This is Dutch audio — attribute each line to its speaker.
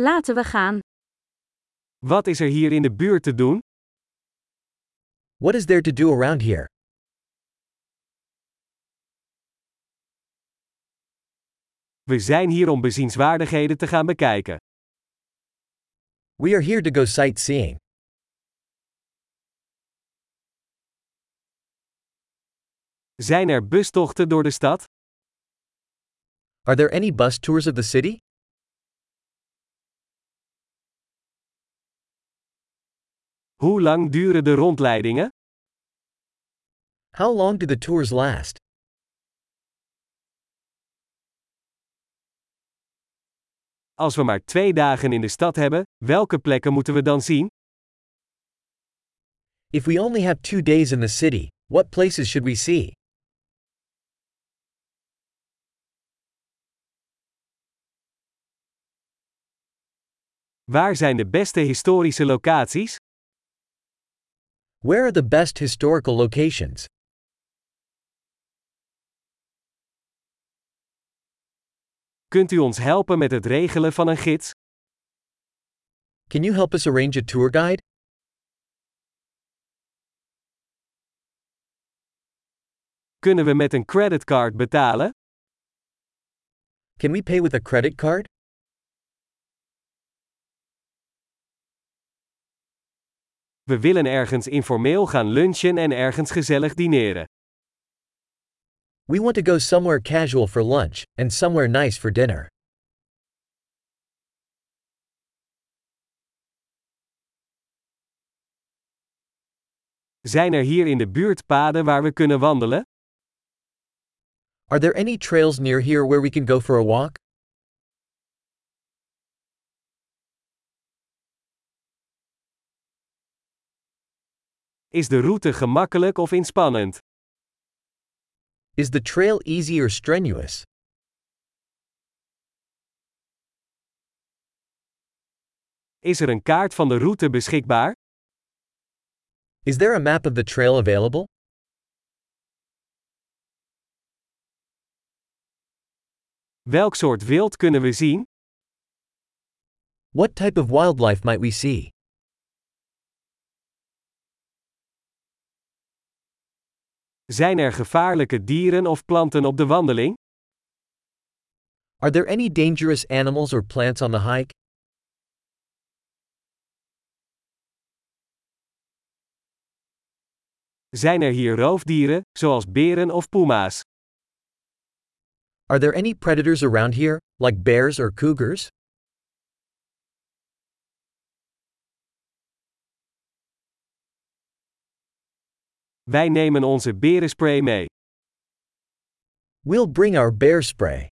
Speaker 1: Laten we gaan.
Speaker 2: Wat is er hier in de buurt te doen?
Speaker 3: What is there to do around here?
Speaker 2: We zijn hier om bezienswaardigheden te gaan bekijken.
Speaker 3: We are here to go sightseeing.
Speaker 2: Zijn er bustochten door de stad?
Speaker 3: Are there any bus tours of the city?
Speaker 2: Hoe lang duren de rondleidingen?
Speaker 3: How long do the tours last?
Speaker 2: Als we maar twee dagen in de stad hebben, welke plekken moeten we dan zien?
Speaker 3: If we only have two days in the city, what places should we see?
Speaker 2: Waar zijn de beste historische locaties?
Speaker 3: Where are the best historical locations?
Speaker 2: Kunt u ons helpen met het regelen van een gids?
Speaker 3: Can you help us arrange a tour guide?
Speaker 2: Kunnen we met een creditcard betalen?
Speaker 3: Can we pay with a credit card?
Speaker 2: We willen ergens informeel gaan lunchen en ergens gezellig dineren.
Speaker 3: We want to go somewhere casual for lunch and somewhere nice for dinner.
Speaker 2: Zijn er hier in de buurt paden waar we kunnen wandelen?
Speaker 3: Are there any trails near here where we can go for a walk?
Speaker 2: Is de route gemakkelijk of inspannend?
Speaker 3: Is the trail easy or strenuous?
Speaker 2: Is er een kaart van de route beschikbaar?
Speaker 3: Is there a map of the trail available?
Speaker 2: Welk soort wild kunnen we zien?
Speaker 3: What type of wildlife might we see?
Speaker 2: Zijn er gevaarlijke dieren of planten op de wandeling?
Speaker 3: Are there any dangerous animals or plants on the hike?
Speaker 2: Zijn er hier roofdieren, zoals beren of puma's?
Speaker 3: Are there any predators around here, like bears or cougars?
Speaker 2: Wij nemen onze berenspray mee.
Speaker 3: We'll bring our bear spray.